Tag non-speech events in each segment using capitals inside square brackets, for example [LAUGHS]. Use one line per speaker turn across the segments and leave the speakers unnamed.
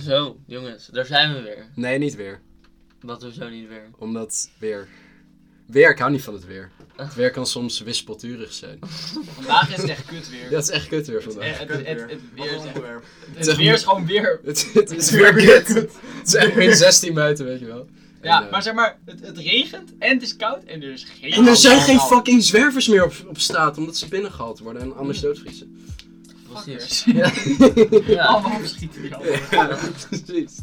Zo, jongens, daar zijn we weer.
Nee, niet weer.
Wat we zo niet weer.
Omdat weer. Weer, ik hou niet van het weer. Het weer kan soms wispelturig zijn.
Vandaag is het echt kut weer.
Dat is echt kut weer vandaag.
Echt, het, het, het,
Wat
weer
een
is echt-
onderwerp.
het weer is gewoon weer.
Het, het is weer kut. Het is echt min 16 buiten, weet je wel. En,
Ja,
eh,
maar zeg maar, het, het regent en het is koud en er is geen.
En er zijn geen
fucking
fucking zwervers meer op, op straat omdat ze binnengehaald worden en anders doodvriezen.
Oh,
Precies.
[LAUGHS] Ja,
[LAUGHS]
Ja.
Allemaal opschieten weer allemaal.
precies.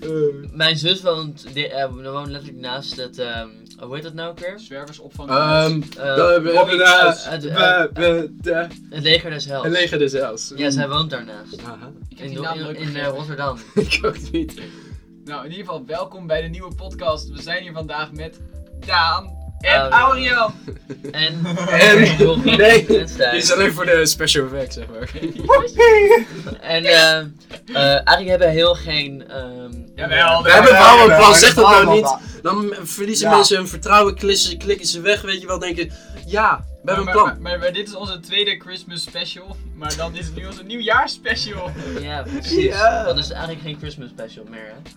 Eh,
Mijn zus woont, di- eh, we woont letterlijk naast het, ehm, hoe heet dat nou ook weer?
Zwervers opvangen.
Ehm,
Eh,
dan hebben we
het,
daar-
het, eh,
we- we- de-
het leger des hels.
Een leger des Hels.
Ja, zij woont daarnaast.
Aha,
ik heb
In,
die naam
in,
nooit
in, eh,
begrepen.
Rotterdam.
[LAUGHS] ik ook niet.
Nou, in ieder geval, welkom bij de nieuwe podcast. We zijn hier vandaag met Daan en
Audio.
Auriel.
En,
[LAUGHS]
[LAUGHS]
En-
Rogier
[LAUGHS] nee,
en Stijn.
Dit is alleen voor de special effects, zeg maar.
En ehm, eh, eigenlijk hebben we heel geen... ehm,
Jawel,
We hebben wel een plan,
maar
zeg dat
dat
nou
allemaal
niet. [LAUGHS] Dan verliezen
Ja.
mensen hun vertrouwen, klissen, klikken ze weg, weet je wel, denken, ja, we hebben een
Maar-
plan.
Maar, maar- maar dit is onze tweede Christmas special. Maar dan is het nu onze nieuwjaarsspecial.
Ja, precies.
Ja.
Dan is het eigenlijk geen Christmas special meer, hè?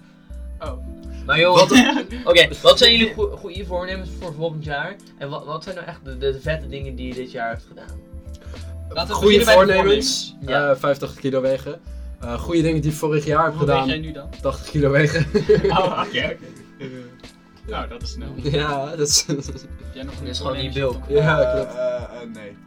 Oh.
Maar
[LAUGHS]
jongens,
Wat-
oké, wat zijn jullie goe- goede voornemens voor volgend jaar? En wat, wat zijn nou echt de, de vette dingen die je dit jaar hebt gedaan?
Laten we
Goede
beginnen bij de
voornemens,
Ja.
eh, 50 kilo wegen. Eh, goede dingen die ik vorig jaar heb
Hoe weet jij
gedaan,
nu dan?
80 kilo wegen.
Oh, oké, oké. Nou, dat is snel.
[LAUGHS] ja, dat is... [LAUGHS]
Heb jij nog
Dat
een
is gewoon die
[LAUGHS] voornemens?
bulk.
ja,
Eh,
klopt.
eh, eh,
[LAUGHS]
nee.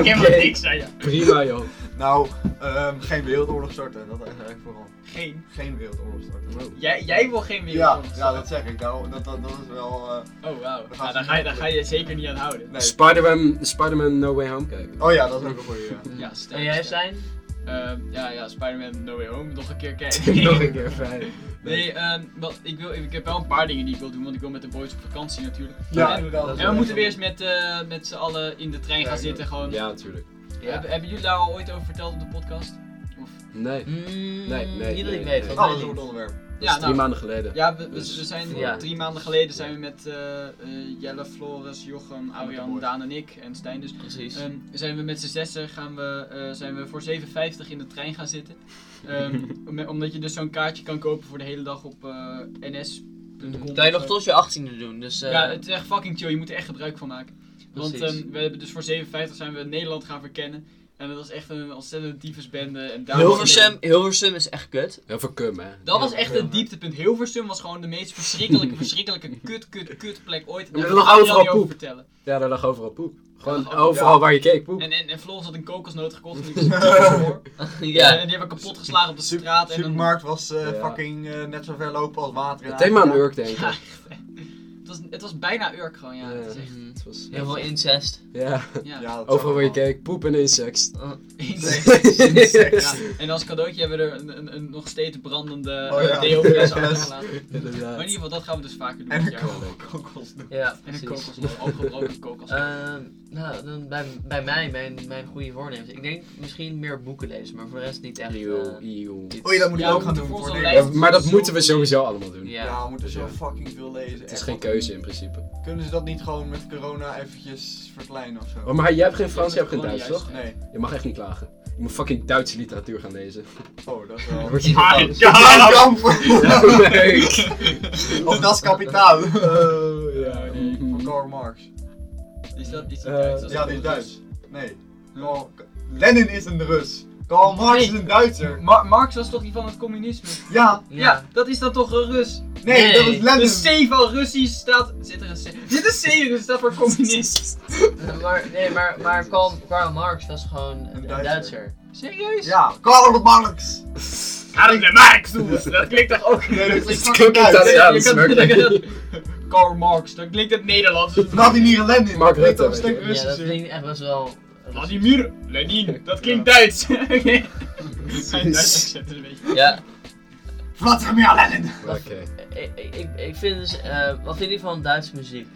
Ik heb nog niks aan ja.
Prima, joh.
Nou, ehm, geen wereldoorlog starten. Dat is eigenlijk vooral.
Geen.
Geen wereldoorlog starten.
Jij, jij wil geen
Ja,
wereldoorlog.
ja, dat zeg ik. Nou, dat, dat, dat is wel. eh,
Oh, wauw.
We gaan
Ja, daar, ga je, daar ga je zeker niet aan houden.
nee.
Spider-Man, Spider-Man No Way Home kijken.
Oh ja, dat is ook een goede. Ja.
Ja, sterk.
En jij
sterk.
[LAUGHS] zijn?
Ehm, ja, ja, Spider-Man No Way Home. Nog een keer
[LAUGHS]
kijken.
Nog
[LAUGHS]
een keer fijn.
Nee, ehm, wat, ik, wil, ik heb wel een paar dingen die ik wil doen, want ik wil met de boys op vakantie natuurlijk.
Ja,
En-
inderdaad.
en
En we moeten weer eens met, eh, met z'n allen in de trein gaan
Ja,
zitten. Gewoon.
Ja, natuurlijk.
Ja.
Hebben, hebben jullie daar al ooit over verteld op de podcast? Of...
Nee, dat
Mm,
Nee, nee,
Niet dat ik
nee,
weet,
nee.
volgens
Oh, dat is
mij
een goed
niet.
onderwerp.
is
Ja,
drie
nou,
maanden geleden.
ja, we, we- we
Dus-
zijn
Ja.
drie maanden geleden zijn we met eh, eh, Jelle, Flores, Jochem, Arjan,
boys.
Daan en ik en Stijn dus.
Precies.
Ehm, zijn we met z'n zessen gaan we, eh, zijn we voor 7,50 in de trein gaan zitten. Ehm, om- omdat je dus zo'n kaartje kan kopen voor de hele dag op eh, NS.
Mhm. kan je nog tot je 18e doen, dus... eh,
Ja, het is echt fucking chill. Je moet er echt gebruik van maken. Want
Precies.
ehm, we hebben dus voor 7,50 zijn we Nederland gaan verkennen. En dat was echt een ontzettend diefesbende. En daar
Hilversum, Hilversum is echt kut.
Heel veel cum, hè.
Dat was echt het dieptepunt. Hilversum was gewoon de meest verschrikkelijke, verschrikkelijke
[LAUGHS]
kut, kut, kut plek ooit. En
Ja,
daar
er lag
kan je
overal
niet over
poep.
vertellen.
Ja, daar lag overal poep. Gewoon
lag-
overal
ja.
waar je keek, poep.
En, en, en Floris had een kokosnoot gekocht.
[LAUGHS]
En die, voor.
[LAUGHS] ja.
en die hebben kapot geslagen op de straat.
De
en een-
supermarkt was eh,
Ja.
fucking eh, net zo ver lopen als water. in
Het thema aan
Afrika.
Urk, denk ik.
Ja, echt, hè. het, was, het was bijna Urk gewoon, ja.
Ja.
Het is echt-
Mhm.
Het was-
Heel veel incest.
Ja,
ja. [LAUGHS]
Ja, dat is
overal
ook
waar je
wel.
keek, poep en
[LAUGHS]
insect.
Ja, En als cadeautje hebben we er een, een, een nog steeds brandende
Oh, ja.
deo-fles
Ja.
achtergelaten. Maar in
Inderdaad.
ieder geval, dat gaan we dus vaker doen.
En
dit
een
jaar.
ko- kokosnoot.
Ja,
en een
precies.
kokosnoot, opgebroken kokosnoot.
Ehm, nou, dan bij, bij mij, mijn, mijn goede voornemens. Ik denk misschien meer boeken lezen, maar voor de rest niet echt.
Eeuw,
eh,
eeuw.
iets.
Oei, Oh dat moet ik
Ja,
ook
we moeten
gaan doen.
voor
Voor
zo'n
de-
lijst.
Ja, maar dat moeten we sowieso allemaal doen.
Ja.
Ja, we moeten zo
Ja.
fucking veel lezen.
Het is
Echt,
geen
wat-
keuze in principe.
Kunnen ze dat niet gewoon met corona eventjes verkleinen of zo?
Oh, maar jij hebt geen Frans, jij hebt geen
Gewoon
Duits,
juist.
toch?
Nee.
Je mag echt niet klagen. Je moet fucking Duitse literatuur gaan lezen.
Oh, dat is wel.
[LAUGHS]
Word je
Ah,
verbaasd.
ja.
Mein Kampf!
[LAUGHS] Leuk!
[LAUGHS] Of dat is kapitaal.
Oh, ja.
Ja,
mhm.
Van Karl Marx.
Is dat is die
Eh,
Duits? Dat
Ja, die is
goed.
Duits. Nee. Karl- Lenin is een Rus. Karl Marx is een Duitser.
Ma- Marx was toch die van het communisme?
Ja.
Ja, dat is dan toch een Rus?
Nee,
Nee.
dat is
De
Lenin.
C van Russisch staat... Zit er een C? Zit een C in? staat voor communist.
Maar, nee, maar, maar Karl, Karl Marx was gewoon een, een Duitser.
Duitser.
Serieus?
Ja, Karl Marx.
Karl Marx, doe Dat klinkt toch ook...
Nee, dat is
Het klinkt
fucking Duits.
Italiaans. Ja, dat
Je
is
kan-
merkelijk.
je kan- [LAUGHS] Karl Marx, dat klinkt het Nederlands. Dus
Vladimir Lenin.
Mark
Dat klinkt
Rutte,
toch
weet
Een stuk
je.
Ja, dat
Russisch.
klinkt echt best wel.
Vladimir Lenin, dat klinkt Duits. [LAUGHS] Oké. Zijn Duits accent is een beetje.
Ja,
Vladimir Lenin.
Oké.
ik, ik, ik vind dus. eh, wat vind je van Duitse muziek?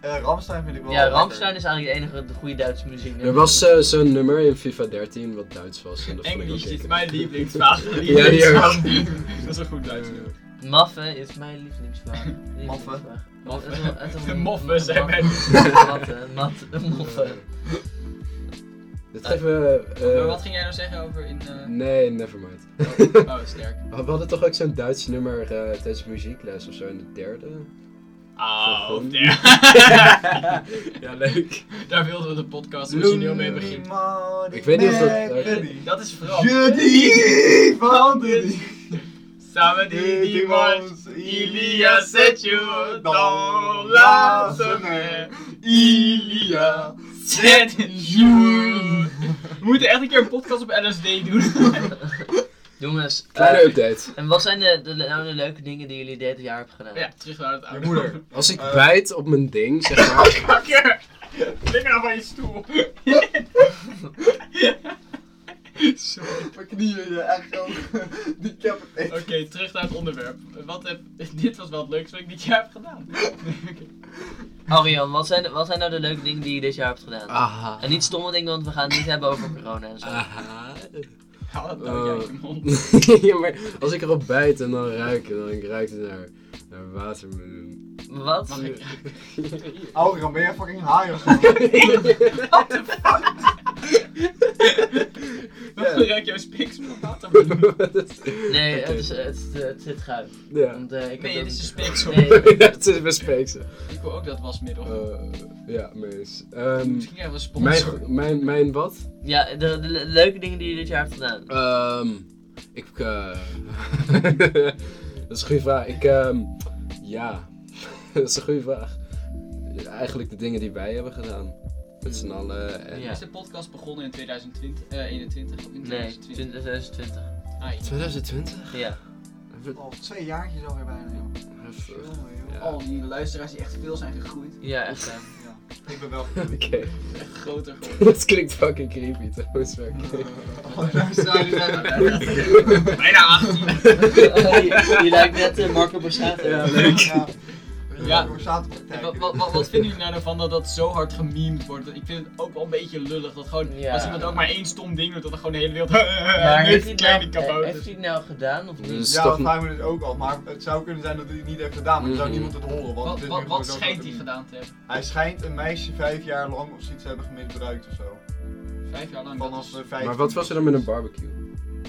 Eh, Ramstein vind ik wel
ja,
lekker.
Ramstein is eigenlijk de enige de goede Duitse muziek.
Er was eh, zo'n nummer in FIFA 13 wat Duits was. En dat vond ik wel
Engels is
kicken.
mijn lievelingsvraag.
Ja, die ook.
[LAUGHS] Dat is een goed Duits nummer.
Maffe is mijn lievelingsvraag. Lievelingsvraag.
[LAUGHS] Maffe.
Het is wel- het is wel-
Moffen zijn mijn...
Matten, matten, moffen.
Dit geven we... eh,
maar wat ging jij nou zeggen over in... eh,
Nee, nevermind.
Oh, sterk.
We hadden toch ook zo'n Duits nummer eh, tijdens muziekles of zo in de derde?
Ah,
Voor
oh,
Groen.
daar.
Ja, leuk.
daar wilden we de podcast origineel mee beginnen.
Ik weet niet of dat-
Dat is Frans.
Jullie van de
Samen die die mars. Ilia zet je dan laatste me.
[LAUGHS] Ilia.
Zet je. We moeten echt een keer een podcast op LSD doen. [LAUGHS]
Jongens, eh,
Kleine update.
en wat zijn de, de, nou de leuke dingen die jullie dit jaar hebben gedaan?
ja, terug naar het
Je
oude.
moeder.
Als ik
Eh.
bijt op mijn ding, zeg maar...
Kakker! Lig nou van je stoel. [LAUGHS] Sorry.
Mijn knieën, je echt ook. Die cap het echt.
Oké, terug naar het onderwerp. Wat heb, [LAUGHS] dit was wel het leukste wat ik dit jaar heb gedaan. Oké.
Arjan, wat zijn, wat zijn nou de leuke dingen die je dit jaar hebt gedaan?
Aha.
En niet stomme dingen, want we gaan het niet hebben over corona en zo.
Aha. [LAUGHS]
Haal dat nou uit je mond.
ja, maar als ik erop bijt en dan ruik, en dan ruikt het naar, naar watermeloen.
Wat?
Mag ik?
[LAUGHS]
Algeram, ben jij fucking haai of zo?
Wat ruikt jouw spiks van water?
Nee,
Oké.
het, is, eh, het, is- het zit goud.
Ja.
Want, eh, ik
Nee,
heb
dit
ook-
is een
[LAUGHS]
speeksel.
Nee,
Dat is best speekse.
Ik wil ook dat wasmiddel.
Eh, ja, mees. Ehm,
Misschien krijgen we een sponsor.
mijn, mijn, mijn wat?
Ja, de, de le- leuke dingen die je dit jaar hebt gedaan.
Ehm, ik. eh, [LAUGHS] dat is een goede vraag. Ik. ehm, ja, [LAUGHS] dat is een goede vraag. Eigenlijk de dingen die wij hebben gedaan. Met z'n allen. En...
Ja.
Is de podcast begonnen in 2020? Eh, 21? Of in
Nee,
2020?
2020.
Ai.
2020?
Ja.
Even-
Al twee jaartjes alweer bijna, joh.
even-
Jongen, joh.
Ja.
Al die luisteraars die echt veel zijn gegroeid.
Ja, echt. [LAUGHS] hè.
Ja, ik ben wel.
Oké, [LAUGHS]
Echt groter geworden.
dat klinkt fucking creepy trouwens. maar oké.
Oh, daar sta je net.
Bijna 18.
je, Oh, lijkt net eh, Marco Borsato.
Ja,
Ja.
Ja.
Door zaterdag.
Wat, wat, wat, wat vinden jullie nou ervan dat dat zo hard gememd wordt? Ik vind het ook wel een beetje lullig dat gewoon,
Ja.
als iemand ook maar één stom ding doet, dat dan gewoon de hele wereld... [LAUGHS]
Maar
nee,
heeft hij,
kleine
het nou, heeft
kabouters.
hij het nou gedaan of niet?
Dus-
Ja,
Is toch-
dat vragen we dus ook al. Maar het zou kunnen zijn dat hij het niet heeft gedaan, maar dan zou
Mhm.
niemand het horen. Want het
Wat,
is nu
wat,
gewoon
wat
zo
schijnt
dat
hij
hem-
gedaan te hebben?
Hij schijnt een meisje vijf jaar lang of zoiets te hebben misbruikt of zo.
Vijf jaar lang. dat
Vanaf
is-
eh, vijf.
Maar wat was er dan met een barbecue?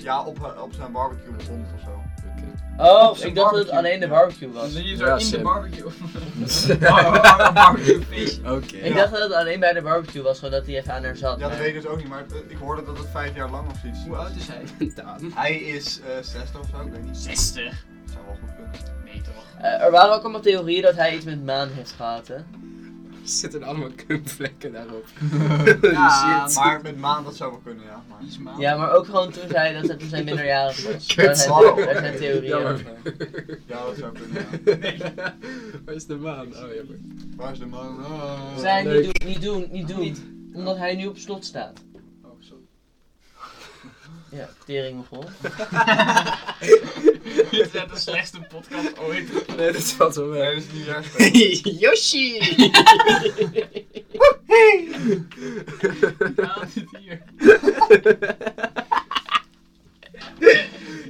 Ja, op, haar- op zijn barbecue begon of zo.
Oké.
Oh,
zijn
ik dacht dat het
barbecue.
alleen de barbecue
Dan
was.
zie je zo
Ja,
in de
Sam.
barbecue. [LAUGHS] barbecue
[LAUGHS]
fish.
Ik
Oké.
dacht dat het alleen bij de barbecue was, zodat hij even aan haar zat.
Ja, dat
maar-
weet ik dus ook niet, maar eh, ik hoorde dat het vijf jaar lang of zoiets
Hoe
was.
oud is hij?
[LAUGHS]
Hij is eh 60 of zo, ik weet niet.
60.
Dat zou wel goed kunnen.
Nee toch.
Eh, er waren ook allemaal theorieën dat hij iets met maan heeft gehad, hè?
Er zitten allemaal kumvlekken
[LAUGHS]
daarop.
Ja,
[LAUGHS] Shit.
Ah, Maar met maan, dat zou wel kunnen, ja. Maar...
Iets maand.
Ja, maar ook gewoon toen zij dat ze toen zij minderjarig was.
[LAUGHS] Kut.
Daar zijn, daar zijn theorieën
Jammer.
over.
[LAUGHS]
Ja, dat zou kunnen, ja.
Waar is de maan? Oh, jammer.
Waar is de maan? Ah.
Zij
Leuk.
niet doen, niet doen, niet doen.
Niet.
Omdat hij nu op slot staat.
Oh, sorry.
Ja, tering begon.
[LAUGHS] Dit is net de slechtste podcast ooit.
Nee, dat valt wel
Nee,
mee.
dat is niet juist.
[LAUGHS] Yoshi!
Ja, dit hier.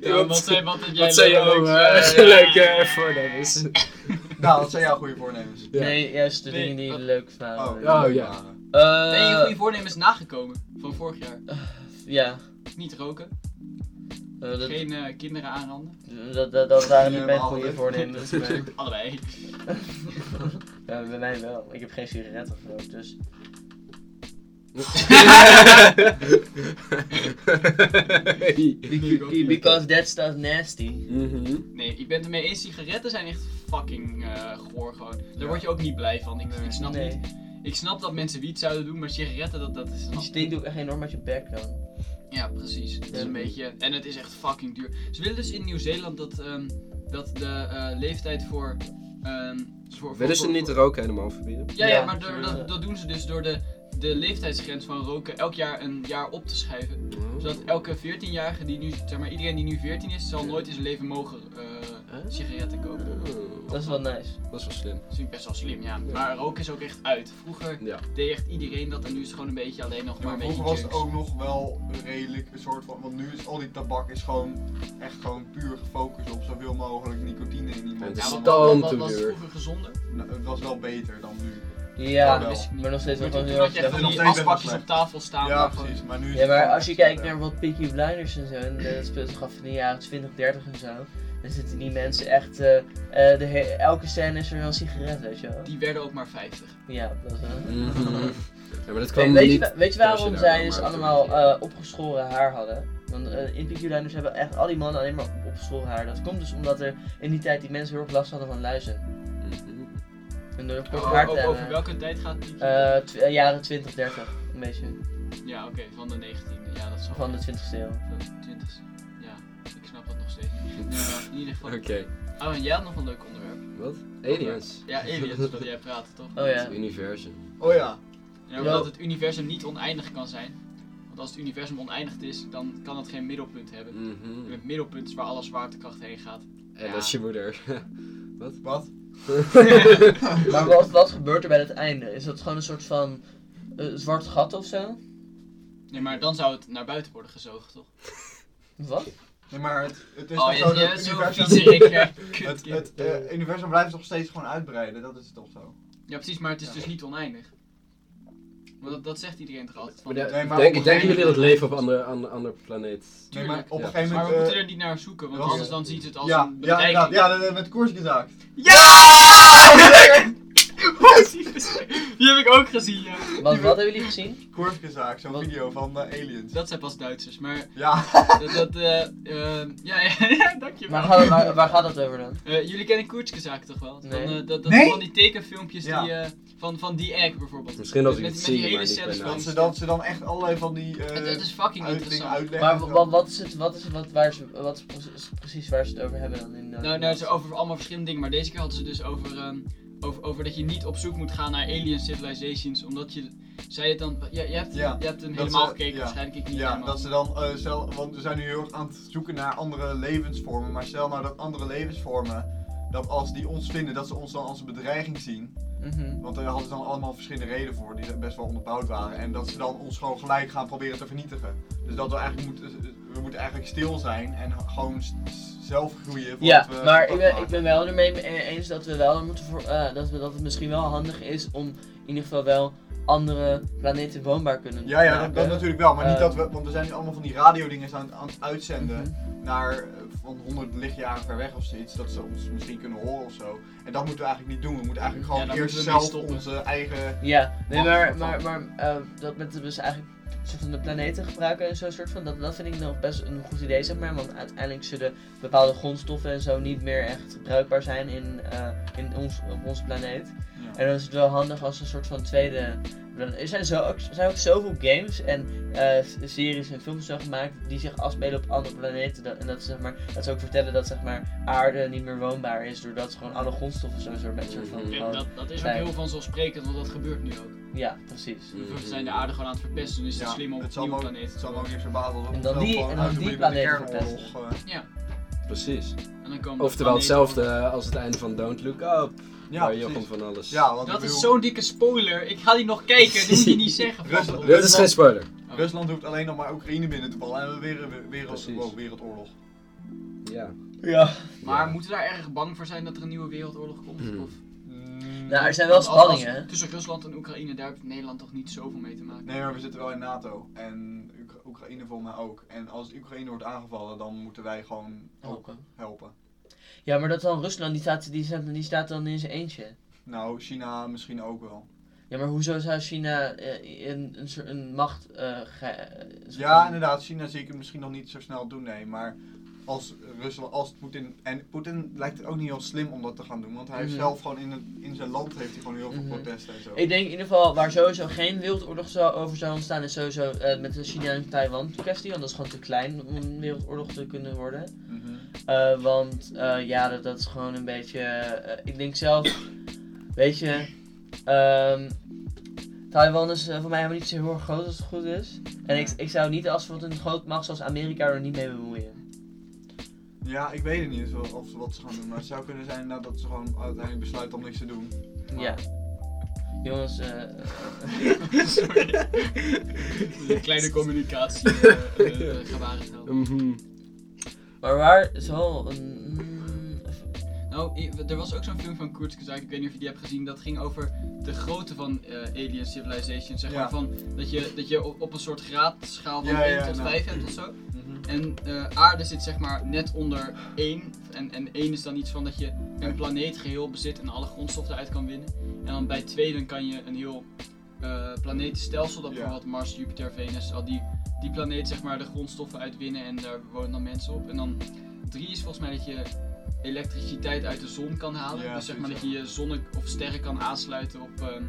Ja, wat, zei, wat heb jij
Wat zijn jouw
leuks?
eh,
Eh,
leuke voornemens?
Nou, dat zijn jouw goede voornemens.
Ja. [LAUGHS]
Nee, juist de
Nee,
dingen die
oh.
leuk waren.
Oh,
ja.
Eh,
Ben je goede voornemens nagekomen van vorig jaar?
Ja.
Niet roken,
eh, dat,
geen eh, kinderen aanranden,
Eh, dat, dat, dat waren
Ja,
niet mijn
maar
goede
alle-
voornemens. maar-
allebei.
eh, Ja, bij mij wel. Ik heb geen sigaretten gerookt, dus...
Be- be-
Because that stuff nasty.
Mhm.
Nee, ik ben het ermee eens. Sigaretten zijn echt fucking eh goor gewoon. Daar word je ook niet blij van. Ik,
Nee.
ik snap
Nee,
niet. Ik snap dat mensen wiet zouden doen, maar sigaretten, dat, dat is...
die stinkt ook echt enorm uit je bek dan.
Ja, precies. Het is een beetje... En het is echt fucking duur. Ze willen dus in Nieuw-Zeeland dat, ehm, dat de eh, leeftijd voor... ehm voor
Willen
voor-
ze niet
voor-
roken helemaal verbieden?
Ja, ja,
Ja,
maar
ze
door-
willen-
dat, dat doen ze dus door de, de leeftijdsgrens van roken elk jaar een jaar op te schrijven. Zodat elke 14-jarige die nu... Zeg maar, iedereen die nu 14 is, zal nooit in zijn leven mogen eh,
Huh?
sigaretten kopen.
Oh,
Dat is wel nice.
Dat is wel slim.
Dat vind ik best wel slim, ja. Maar roken is ook echt uit. Vroeger
Ja.
deed echt iedereen dat en nu is het gewoon een beetje alleen nog maar
Maar
een
vroeger
beetje
was het
junks.
ook nog wel redelijk een soort van, want nu is al die tabak is gewoon echt gewoon puur gefocust op zoveel mogelijk nicotine in iemand.
Het is
Ja,
want-
wat, wat,
dan
wat
te
was
duur.
vroeger gezonder?
Nou, het was wel beter dan nu. Ja,
Ja, dus-
wel.
dat wist ik niet.
maar nog steeds wel
Maar
gewoon
toen, toen
heel erg
had je
slecht.
echt van
Nog
die
steeds
afpakjes
wel
op tafel staan.
Ja,
waar gewoon-
precies. Maar nu is
Ja,
het
maar
echt
als je
slecht,
kijkt
ja.
naar wat Peaky Blinders en zo, en eh, dat speelt zich af in de jaren 20, 30 en zo, dan zitten die mensen echt, eh, eh, de he- elke scène is er wel een sigaret, weet je wel.
Die werden ook maar 50.
Ja, dat is wel...
Mhm. Ja, maar dat kwam
weet, je,
niet...
wa- weet je
thuis
waarom
in
zij
Arnhem,
dus
maar
allemaal
toen-
eh, opgeschoren haar hadden? Want eh, in Peaky Blinders hebben echt al die mannen alleen maar opgeschoren haar. Dat komt dus omdat er in die tijd die mensen heel erg last hadden van luizen.
Mhm.
En door kort
Oh,
haar te
over,
hebben.
over welke tijd gaat die?
eh, tw- eh, jaren 20, 30, een beetje.
Ja, oké, van de 19e. Ja, dat is
Van de 20ste eeuw.
Van de 20e. Ja, ik snap dat nog steeds niet. Nou, in ieder geval.
Oké,
Oh, en jij had nog een leuk onderwerp.
wat? Aliens.
Ja, aliens wilde jij praten, toch?
Oh ja.
Het universum.
Oh ja.
Ja, omdat het universum niet oneindig kan zijn. Want als het universum oneindig is, dan kan het geen middelpunt hebben.
Mhm.
En het middelpunt is waar alle zwaartekracht heen gaat.
En
Ja.
dat is je moeder.
Wat?
Maar wat, wat gebeurt er bij het einde? Is dat gewoon een soort van eh, zwart gat of zo?
Nee, maar dan zou het naar buiten worden gezogen, toch?
Wat?
Nee, maar het, het is
oh,
toch
je,
zo
je
dat
bent
het
zo'n
universum... [LAUGHS]
vieze Rick, ja,
Het,
kutkind.
het eh, universum blijft toch steeds gewoon uitbreiden, dat is toch zo?
Ja, precies, maar het is dus niet oneindig. Want dat, dat zegt iedereen toch altijd. Van,
Maar
Nee, maar op
Denk,
een
denken
gegeven
jullie dat
moment-
leven op een ander, ander, ander planeet...
Nee, maar op
Ja.
een gegeven
maar
moment...
we moeten
eh,
er niet naar zoeken, want
dat is-
anders dan ziet het als
ja,
een
ja,
bedreiging.
inderdaad, ja, dat hebben we met koers gezaakt.
[LAUGHS] Die heb ik ook gezien, ja.
Wat, wat hebben jullie gezien?
Koers gezaakt, zo'n
Wat?
video van eh, aliens.
Dat zijn pas Duitsers, maar
Ja,
dat, dat eh, ehm, ja, [LAUGHS] ja, ja, dankjewel.
Maar waar, waar, waar gaat dat over dan?
Eh, jullie kennen Koertskezaken toch wel?
Nee.
Van, eh, dat dat
Nee?
van die tekenfilmpjes
Ja.
die, eh, van, van die egg bijvoorbeeld.
Misschien dat
Met-
ik
met-
het
met die
zie,
hele
maar niet
scènes
ben
van-
dat ze, dat ze dan echt allerlei van die eh,
Het, het is fucking
uit- dingen
interessant.
uitleggen.
Maar
en zo.
wat, wat is het, wat is het, wat, waar ze, wat is pre- precies waar ze het over hebben dan in de...
Nou, nou, ze over allemaal verschillende dingen, maar deze keer hadden ze dus over, ehm, over, over dat je niet op zoek moet gaan naar alien civilizations, omdat je, zij het dan, ja, je hebt,
Ja,
je hebt hem
dat
helemaal
ze-
gekeken,
ja.
waarschijnlijk ik niet
Ja,
helemaal.
dat ze dan eh, zelf, want we zijn nu heel erg aan het zoeken naar andere levensvormen, maar stel nou dat andere levensvormen, dat als die ons vinden, dat ze ons dan als een bedreiging zien.
Mhm.
Want daar hadden ze dan allemaal verschillende redenen voor, die best wel onderbouwd waren. En dat ze dan ons gewoon gelijk gaan proberen te vernietigen. Dus dat we eigenlijk moeten, we moeten eigenlijk stil zijn en gewoon s- zelf groeien.
Ja,
voordat we
maar ik
contact
ben,
maken.
ik ben wel ermee mee eens dat we wel moeten voor, eh, dat, we, dat het misschien wel handig is om in ieder geval wel andere planeten woonbaar kunnen
Ja, ja,
maken.
dat, dat natuurlijk wel, maar niet
Eh,
dat we, want we zijn nu allemaal van die radiodingen aan, aan het uitzenden.
Mhm.
naar eh, van 100 lichtjaren ver weg of zoiets, dat ze ons misschien kunnen horen of zo. En dat moeten we eigenlijk niet doen. We moeten eigenlijk
Ja,
gewoon
daar
eerst
moeten we mee
zelf
stoppen.
onze eigen.
Ja, nee,
Wat
maar,
ervan?
maar, maar eh, dat met dus eigenlijk een soort van de planeten gebruiken en zo soort van, dat, dat vind ik nog best een goed idee, zeg maar. Want uiteindelijk zullen bepaalde grondstoffen en zo niet meer echt bruikbaar zijn in, eh, in ons, op onze planeet. En dan is het wel handig als een soort van tweede. Er zijn, zo, ook- er zijn ook zoveel games en eh, series en films zo gemaakt die zich afspelen op andere planeten. Dat, en dat, ze, zeg maar, dat ze ook vertellen dat zeg maar, aarde niet meer woonbaar is doordat gewoon alle grondstoffen sowieso met soort van.
Mhm.
Ja, dat, dat is ook heel vanzelfsprekend, want dat gebeurt nu ook.
Ja, precies.
Mhm.
We zijn de aarde gewoon aan het verpesten, dus het
Mm. Ja,
is slim om
het
op
zal
een nieuwe
ook-
planeet
Het
te
zal me ook
komen.
niks verbazen.
En dan die- en dan die planeten verpesten.
Precies.
En dan komen de
Oftewel
planeten-
hetzelfde als het einde van Don't Look Up.
eh. Ja,
waar Jochem
precies.
van alles...
Ja, want
Dat
ik
is
bedoel,
zo'n dikke spoiler, ik ga die nog kijken, dat moet je
[LAUGHS]
niet zeggen.
Rustig-
Frans.
Dit is geen spoiler.
Rusland hoeft alleen nog maar Oekraïne binnen te ballen en we weer weer- wereld,
Precies.
wow, wereldoorlog.
Ja.
Ja.
Maar
Ja.
moeten we daar erg bang voor zijn dat er een nieuwe wereldoorlog komt?
Hmm.
Of,
Mm,
Nou, er zijn wel
want als- als-
spanningen. hè?
Tussen Rusland en Oekraïne, daar heeft Nederland toch niet zoveel mee te maken.
Nee, maar we zitten wel in NATO en Oek- Oekraïne volgens mij ook. En als Oekraïne wordt aangevallen, dan moeten wij gewoon
Oh.
Oh,
ook helpen.
Ja, maar dat is dan Rusland, die staat, die, staat, die staat dan in zijn eentje.
Nou, China misschien ook wel.
Ja, maar hoezo zou China eh, een, een, soort- een macht. eh, ge- eh, soort
Ja,
van-
inderdaad. China zie ik het misschien nog niet zo snel doen, nee. Maar als Rusland, als Poetin... En Poetin lijkt het ook niet heel slim om dat te gaan doen. Want hij heeft
Mhm.
zelf gewoon in, een- in zijn land heeft hij gewoon heel veel
Mhm.
protesten en zo.
Ik denk in ieder geval waar sowieso geen wereldoorlog zou over zou ontstaan is sowieso eh, met de China en Taiwan kwestie, want dat is gewoon te klein om een wereldoorlog te kunnen worden.
Mhm.
Eh, want eh, ja, dat, dat is gewoon een beetje, eh, ik denk zelf, weet je, ehm, Taiwan is eh, voor mij helemaal niet zo heel erg groot als het goed is. En ik, ik zou niet als bijvoorbeeld een groot macht zoals Amerika er niet mee bemoeien.
Ja, ik weet het niet of, of ze wat ze gaan doen. Maar het zou kunnen zijn nou, dat ze gewoon uiteindelijk besluiten om niks te doen. Maar-
Ja. Jongens, eh, [LAUGHS]
Sorry.
[LAUGHS]
Een kleine communicatie eh,
[LAUGHS]
eh, eh, gebarentaal.
Mhm.
maar waar is wel een... mm, even-
Nou, i- er was ook zo'n film van Kurt Kazak, ik weet niet of je die hebt gezien, dat ging over de grootte van eh, alien civilization. Zeg
Ja.
maar van dat je, dat je op, op een soort graadschaal van
Ja,
1
ja,
tot
nou.
5 hebt of zo.
Mhm.
En eh, aarde zit zeg maar net onder 1. En, en 1 is dan iets van dat je een planeet geheel bezit en alle grondstoffen eruit kan winnen. En dan bij 2 dan kan je een heel eh, planetenstelsel, dat
Ja.
bijvoorbeeld Mars, Jupiter, Venus, al die, die planeet zeg maar de grondstoffen uitwinnen en daar wonen dan mensen op. En dan 3 is volgens mij dat je elektriciteit uit de zon kan halen.
Ja,
dus zeg maar dat
zoiets,
je je zonne- of sterren kan aansluiten op ehm,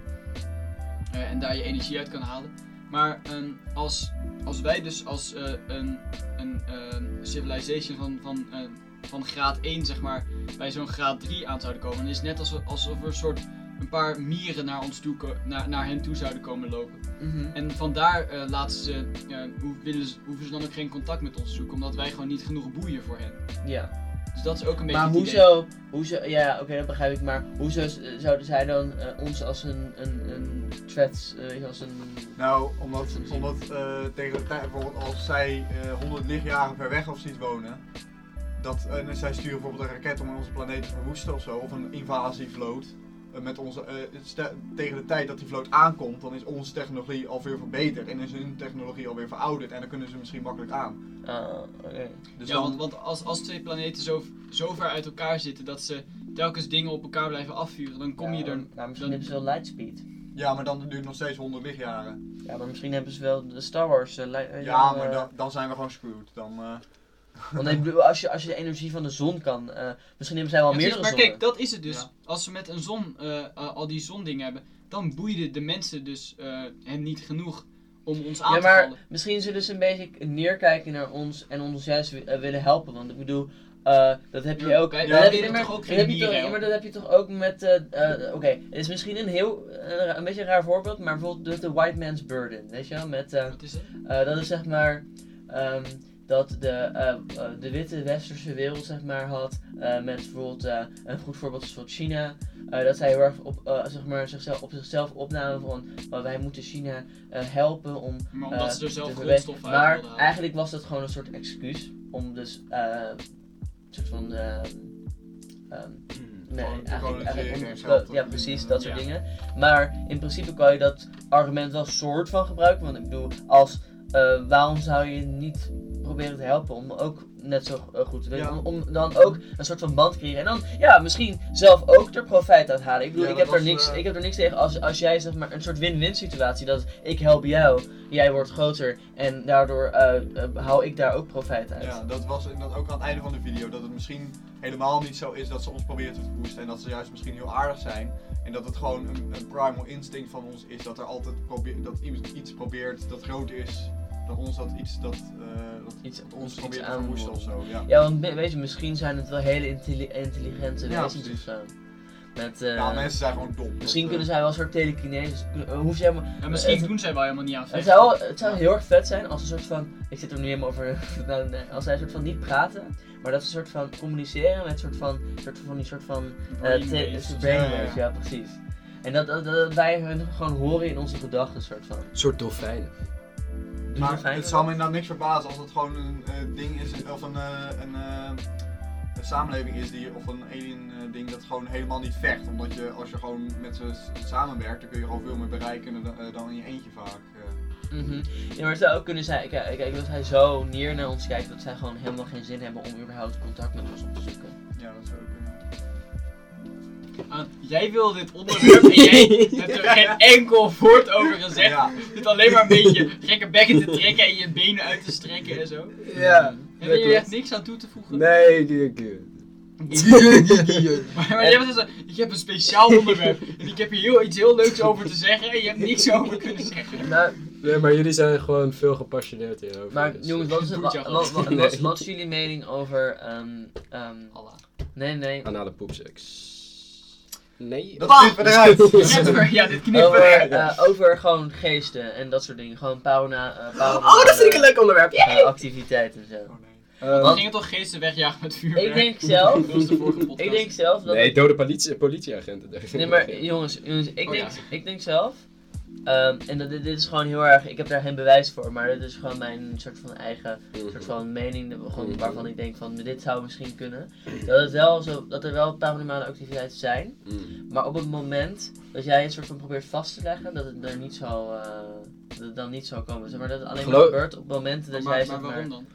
eh, en daar je energie uit kan halen. Maar ehm, als, als wij dus als eh, een, een ehm, civilization van, van, eh, van graad 1, zeg maar, bij zo'n graad 3 aan zouden komen, dan is het net alsof, alsof er een soort een paar mieren naar ons toe, ko- naar, naar hen toe zouden komen lopen.
Mhm.
En vandaar eh laten ze, eh, hoe- willen ze, hoeven ze dan ook geen contact met ons te zoeken, omdat wij gewoon niet genoeg boeien voor hen.
Ja.
Dus dat is ook een beetje
Maar
het idee.
hoezo, hoezo, ja oké dat begrijp ik, maar hoezo z- zouden zij dan eh, ons als een, een, een threat, eh, als een...
Nou, omdat, omdat eh, tegen de tijd, bijvoorbeeld als zij eh 100 lichtjaren ver weg of zoiets wonen, dat, eh, en zij sturen bijvoorbeeld een raket om onze planeet te verwoesten of zo, of een invasievloot. eh, Met onze, eh, ste- tegen de tijd dat die vloot aankomt, dan is onze technologie alweer verbeterd en is hun technologie alweer verouderd en dan kunnen ze misschien makkelijk aan.
Ah, oké.
Dus
ja,
dan-
want, want als, als twee planeten zo, zo ver uit elkaar zitten dat ze telkens dingen op elkaar blijven afvuren, dan kom je
Ja,
er.
Maar misschien
dan-
hebben ze wel lightspeed.
ja, maar dan duurt het nog steeds 100 lichtjaren.
Ja, maar misschien hebben ze wel de Star Wars eh, li- eh,
Ja, maar
eh,
dan, dan zijn we gewoon screwed. Dan, eh,
Want ik bedoel, als je, als je de energie van de zon kan, eh, misschien hebben zij wel
Ja, precies,
meerdere
maar
zonnen.
kijk, dat is het dus.
Ja.
Als ze met een zon eh, eh, al die zondingen hebben, dan boeiden de mensen dus eh hen niet genoeg om ons aan
ja,
te
maar
vallen.
misschien zullen ze een beetje k- neerkijken naar ons en ons juist wi- eh, willen helpen. Want ik bedoel, eh, dat heb je
Ja,
ook.
wij-
dat
wij
heb
willen
je, maar-
toch ook
dat
geen
heb je toch-
dieren,
ja, maar
joh?
dat heb je toch ook met. eh, eh, Oké, het is misschien een heel. een ra- een beetje een raar voorbeeld, maar bijvoorbeeld dus de, de White Man's Burden. Weet je wel? Met, eh,
Wat is het?
eh, dat is zeg maar. ehm, dat de, eh, eh, de witte westerse wereld zeg maar had, eh, met bijvoorbeeld eh, een goed voorbeeld is bijvoorbeeld China, eh, dat zij heel erg op, eh, zeg maar, zichzelf, op zichzelf opnamen van "Oh, wij moeten China eh, helpen om
Maar omdat
eh,
ze er zelf
te
grondstoffen
verwerken.
uit
Maar
wilden halen.
eigenlijk was dat gewoon een soort excuus om dus eh, een soort van ehm, ehm, nee,
Gewoon te
eigenlijk, eigenlijk
koloniseren
om-
en geld te
ja,
verdienen.
precies, dat soort
Ja.
dingen. Maar in principe kan je dat argument wel soort van gebruiken. Want ik bedoel, als eh, waarom zou je niet proberen te helpen om ook net zo eh, goed te willen,
Ja.
om, om dan ook een soort van band te creëren en dan ja misschien zelf ook er profijt uit halen. Ik bedoel,
Ja,
ik
dat
heb er
was,
niks,
eh,
ik heb er niks tegen als, als jij zeg maar een soort win-win situatie dat ik help jou jij wordt groter en daardoor eh, eh, haal ik daar ook profijt uit.
Ja, dat was inderdaad ook aan het einde van de video. Dat het misschien helemaal niet zo is dat ze ons proberen te verwoesten. En dat ze juist misschien heel aardig zijn. En dat het gewoon een, een primal instinct van ons is. Dat er altijd probeert, dat iemand iets probeert dat groter is dan ons. Dat iets dat, eh, dat
Iets
ons
iets
probeert te
aan
verwoesten of
wil.
zo. Ja.
Ja, want we- weet je, misschien zijn het wel hele intelli- intelligente
Ja,
wezens of
precies.
zo. Met, eh,
ja, mensen zijn gewoon dom.
misschien
Dat,
kunnen
eh,
zij wel een soort telekinesis. eh, Hoef je helemaal...
En misschien
het-
doen zij wel helemaal niet aan
Het
vechten.
zou, het zou
Ja.
heel erg vet zijn als een soort van. Ik zit er nu helemaal over. [LAUGHS] nou, nee, als zij een soort van niet praten, maar dat ze een soort van communiceren met een soort van. soort van die soort van. eh,
Brainwaves.
te-
Ja,
brainwaves,
Oh, ja.
ja, precies. En dat, dat, dat wij hun gewoon horen in onze gedachten, soort van.
Een soort dolfijn.
Dus dat
Maar
zijn
het
we
zou
wel.
me nou niks verbazen als het gewoon een eh, ding is, of een, eh, een, eh, een samenleving is, die, of een alien eh, ding dat gewoon helemaal niet vecht. Omdat je, als je gewoon met ze s- samenwerkt, dan kun je gewoon veel meer bereiken dan, eh, dan in je eentje vaak. eh.
Mhm. Ja, maar het zou ook kunnen zijn. Kijk, kijk, dat hij zo neer naar ons kijkt dat zij gewoon helemaal geen zin hebben om überhaupt contact met ons op te zoeken.
ja, dat is ook.
Ah, jij wil dit onderwerp en
[LAUGHS]
jij hebt er geen enkel woord over gezegd.
ja,
Je zit alleen maar een beetje gekke bekken te trekken en je benen uit te strekken en zo.
Ja.
Heb je hier echt niks aan toe te voegen?
Nee, die keer.
[LAUGHS] Maar, maar jij was dus, zo, ik heb een speciaal onderwerp en ik heb hier heel, iets heel leuks over te zeggen en je hebt niks over kunnen zeggen.
Nou,
Nee, maar jullie zijn gewoon veel gepassioneerd hierover.
maar
dus,
jongens, wat is,
Doe
het,
het
wat,
jou
wat, [LAUGHS]
gewoon.
wat-
Nee.
wat is jullie mening over. ehm, ehm,
Allah.
nee, nee.
eh, Anale poepseks. Nee.
dat
Bah!
zit
[LAUGHS]
eruit.
Redver, ja, dit knippen.
Over, eh, over gewoon geesten en dat soort dingen. Gewoon pauna, eh, paranormale,
Oh, leuk onderwerp.
eh, activiteiten en zo.
Oh, nee.
We
Ehm,
gingen toch geesten wegjagen met vuurwerk?
Ik denk zelf.
Dat was de vorige podcast.
Ik denk zelf [LAUGHS] dat.
nee,
het-
dode politie, politieagenten. [LAUGHS]
nee, maar jongens, jongens ik,
Oh,
denk,
ja.
ik denk zelf Ehm, en dat, dit dit is gewoon heel erg, ik heb daar geen bewijs voor, maar dit is gewoon mijn soort van eigen soort
Mhm.
van mening dat we gewoon, waarvan ik denk van dit zou misschien kunnen. Dat, het wel zo, dat er wel paranormale activiteiten zijn,
Mm.
maar op het moment dat jij het soort van probeert vast te leggen, dat het er niet zo, eh, dat het dan niet zou komen. Zeg maar dat het alleen maar
Geloof-
gebeurt op momenten dat
maar,
jij
maar
zeg maar,
waarom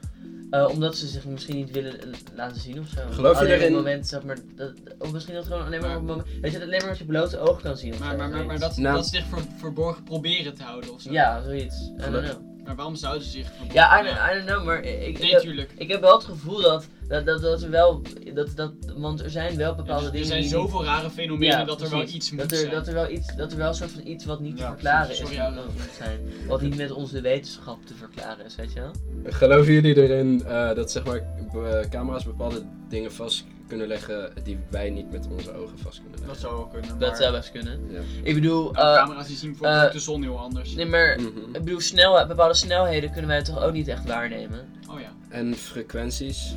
dan?
eh, omdat ze zich misschien niet willen eh, laten zien of zo.
Geloof je
alleen
erin?
Op het moment zeg maar, dat, of misschien dat gewoon alleen maar,
Maar-
op het moment, weet je, dat alleen maar met je blote ogen kan zien of
Maar,
zo,
maar, maar, maar
zoiets.
dat,
Nou.
dat ze zich ver- verborgen proberen te houden ofzo.
Ja, zoiets. I
Geloof-
don't know.
Maar waarom zouden ze zich verborgen
Ja, I don't,
houden?
I don't know, maar ik,
Nee,
ik,
tuurlijk.
ik heb wel het gevoel dat, dat, dat, dat er wel, dat, dat, want er zijn wel
Ja,
bepaalde
dus er
dingen
zijn
die
zoveel rare fenomenen
Ja,
dat er wel
precies.
iets moet
dat er,
zijn.
dat er wel iets, dat er wel een soort van iets wat niet te
Ja,
verklaren
precies.
is,
Sorry,
moet
Alan.
zijn. Wat niet met onze wetenschap te verklaren is, weet je wel?
Geloven jullie erin eh, dat zeg maar, be- camera's bepaalde dingen vast kunnen leggen die wij niet met onze ogen vast kunnen leggen?
Dat zou wel kunnen.
Dat
maar-
zou best kunnen.
Ja.
Ik bedoel,
Nou,
eh,
camera's die zien bijvoorbeeld
eh,
de zon heel anders.
nee, maar,
Mhm.
ik bedoel, snel, bepaalde snelheden kunnen wij toch ook niet echt waarnemen?
Oh ja.
En frequenties.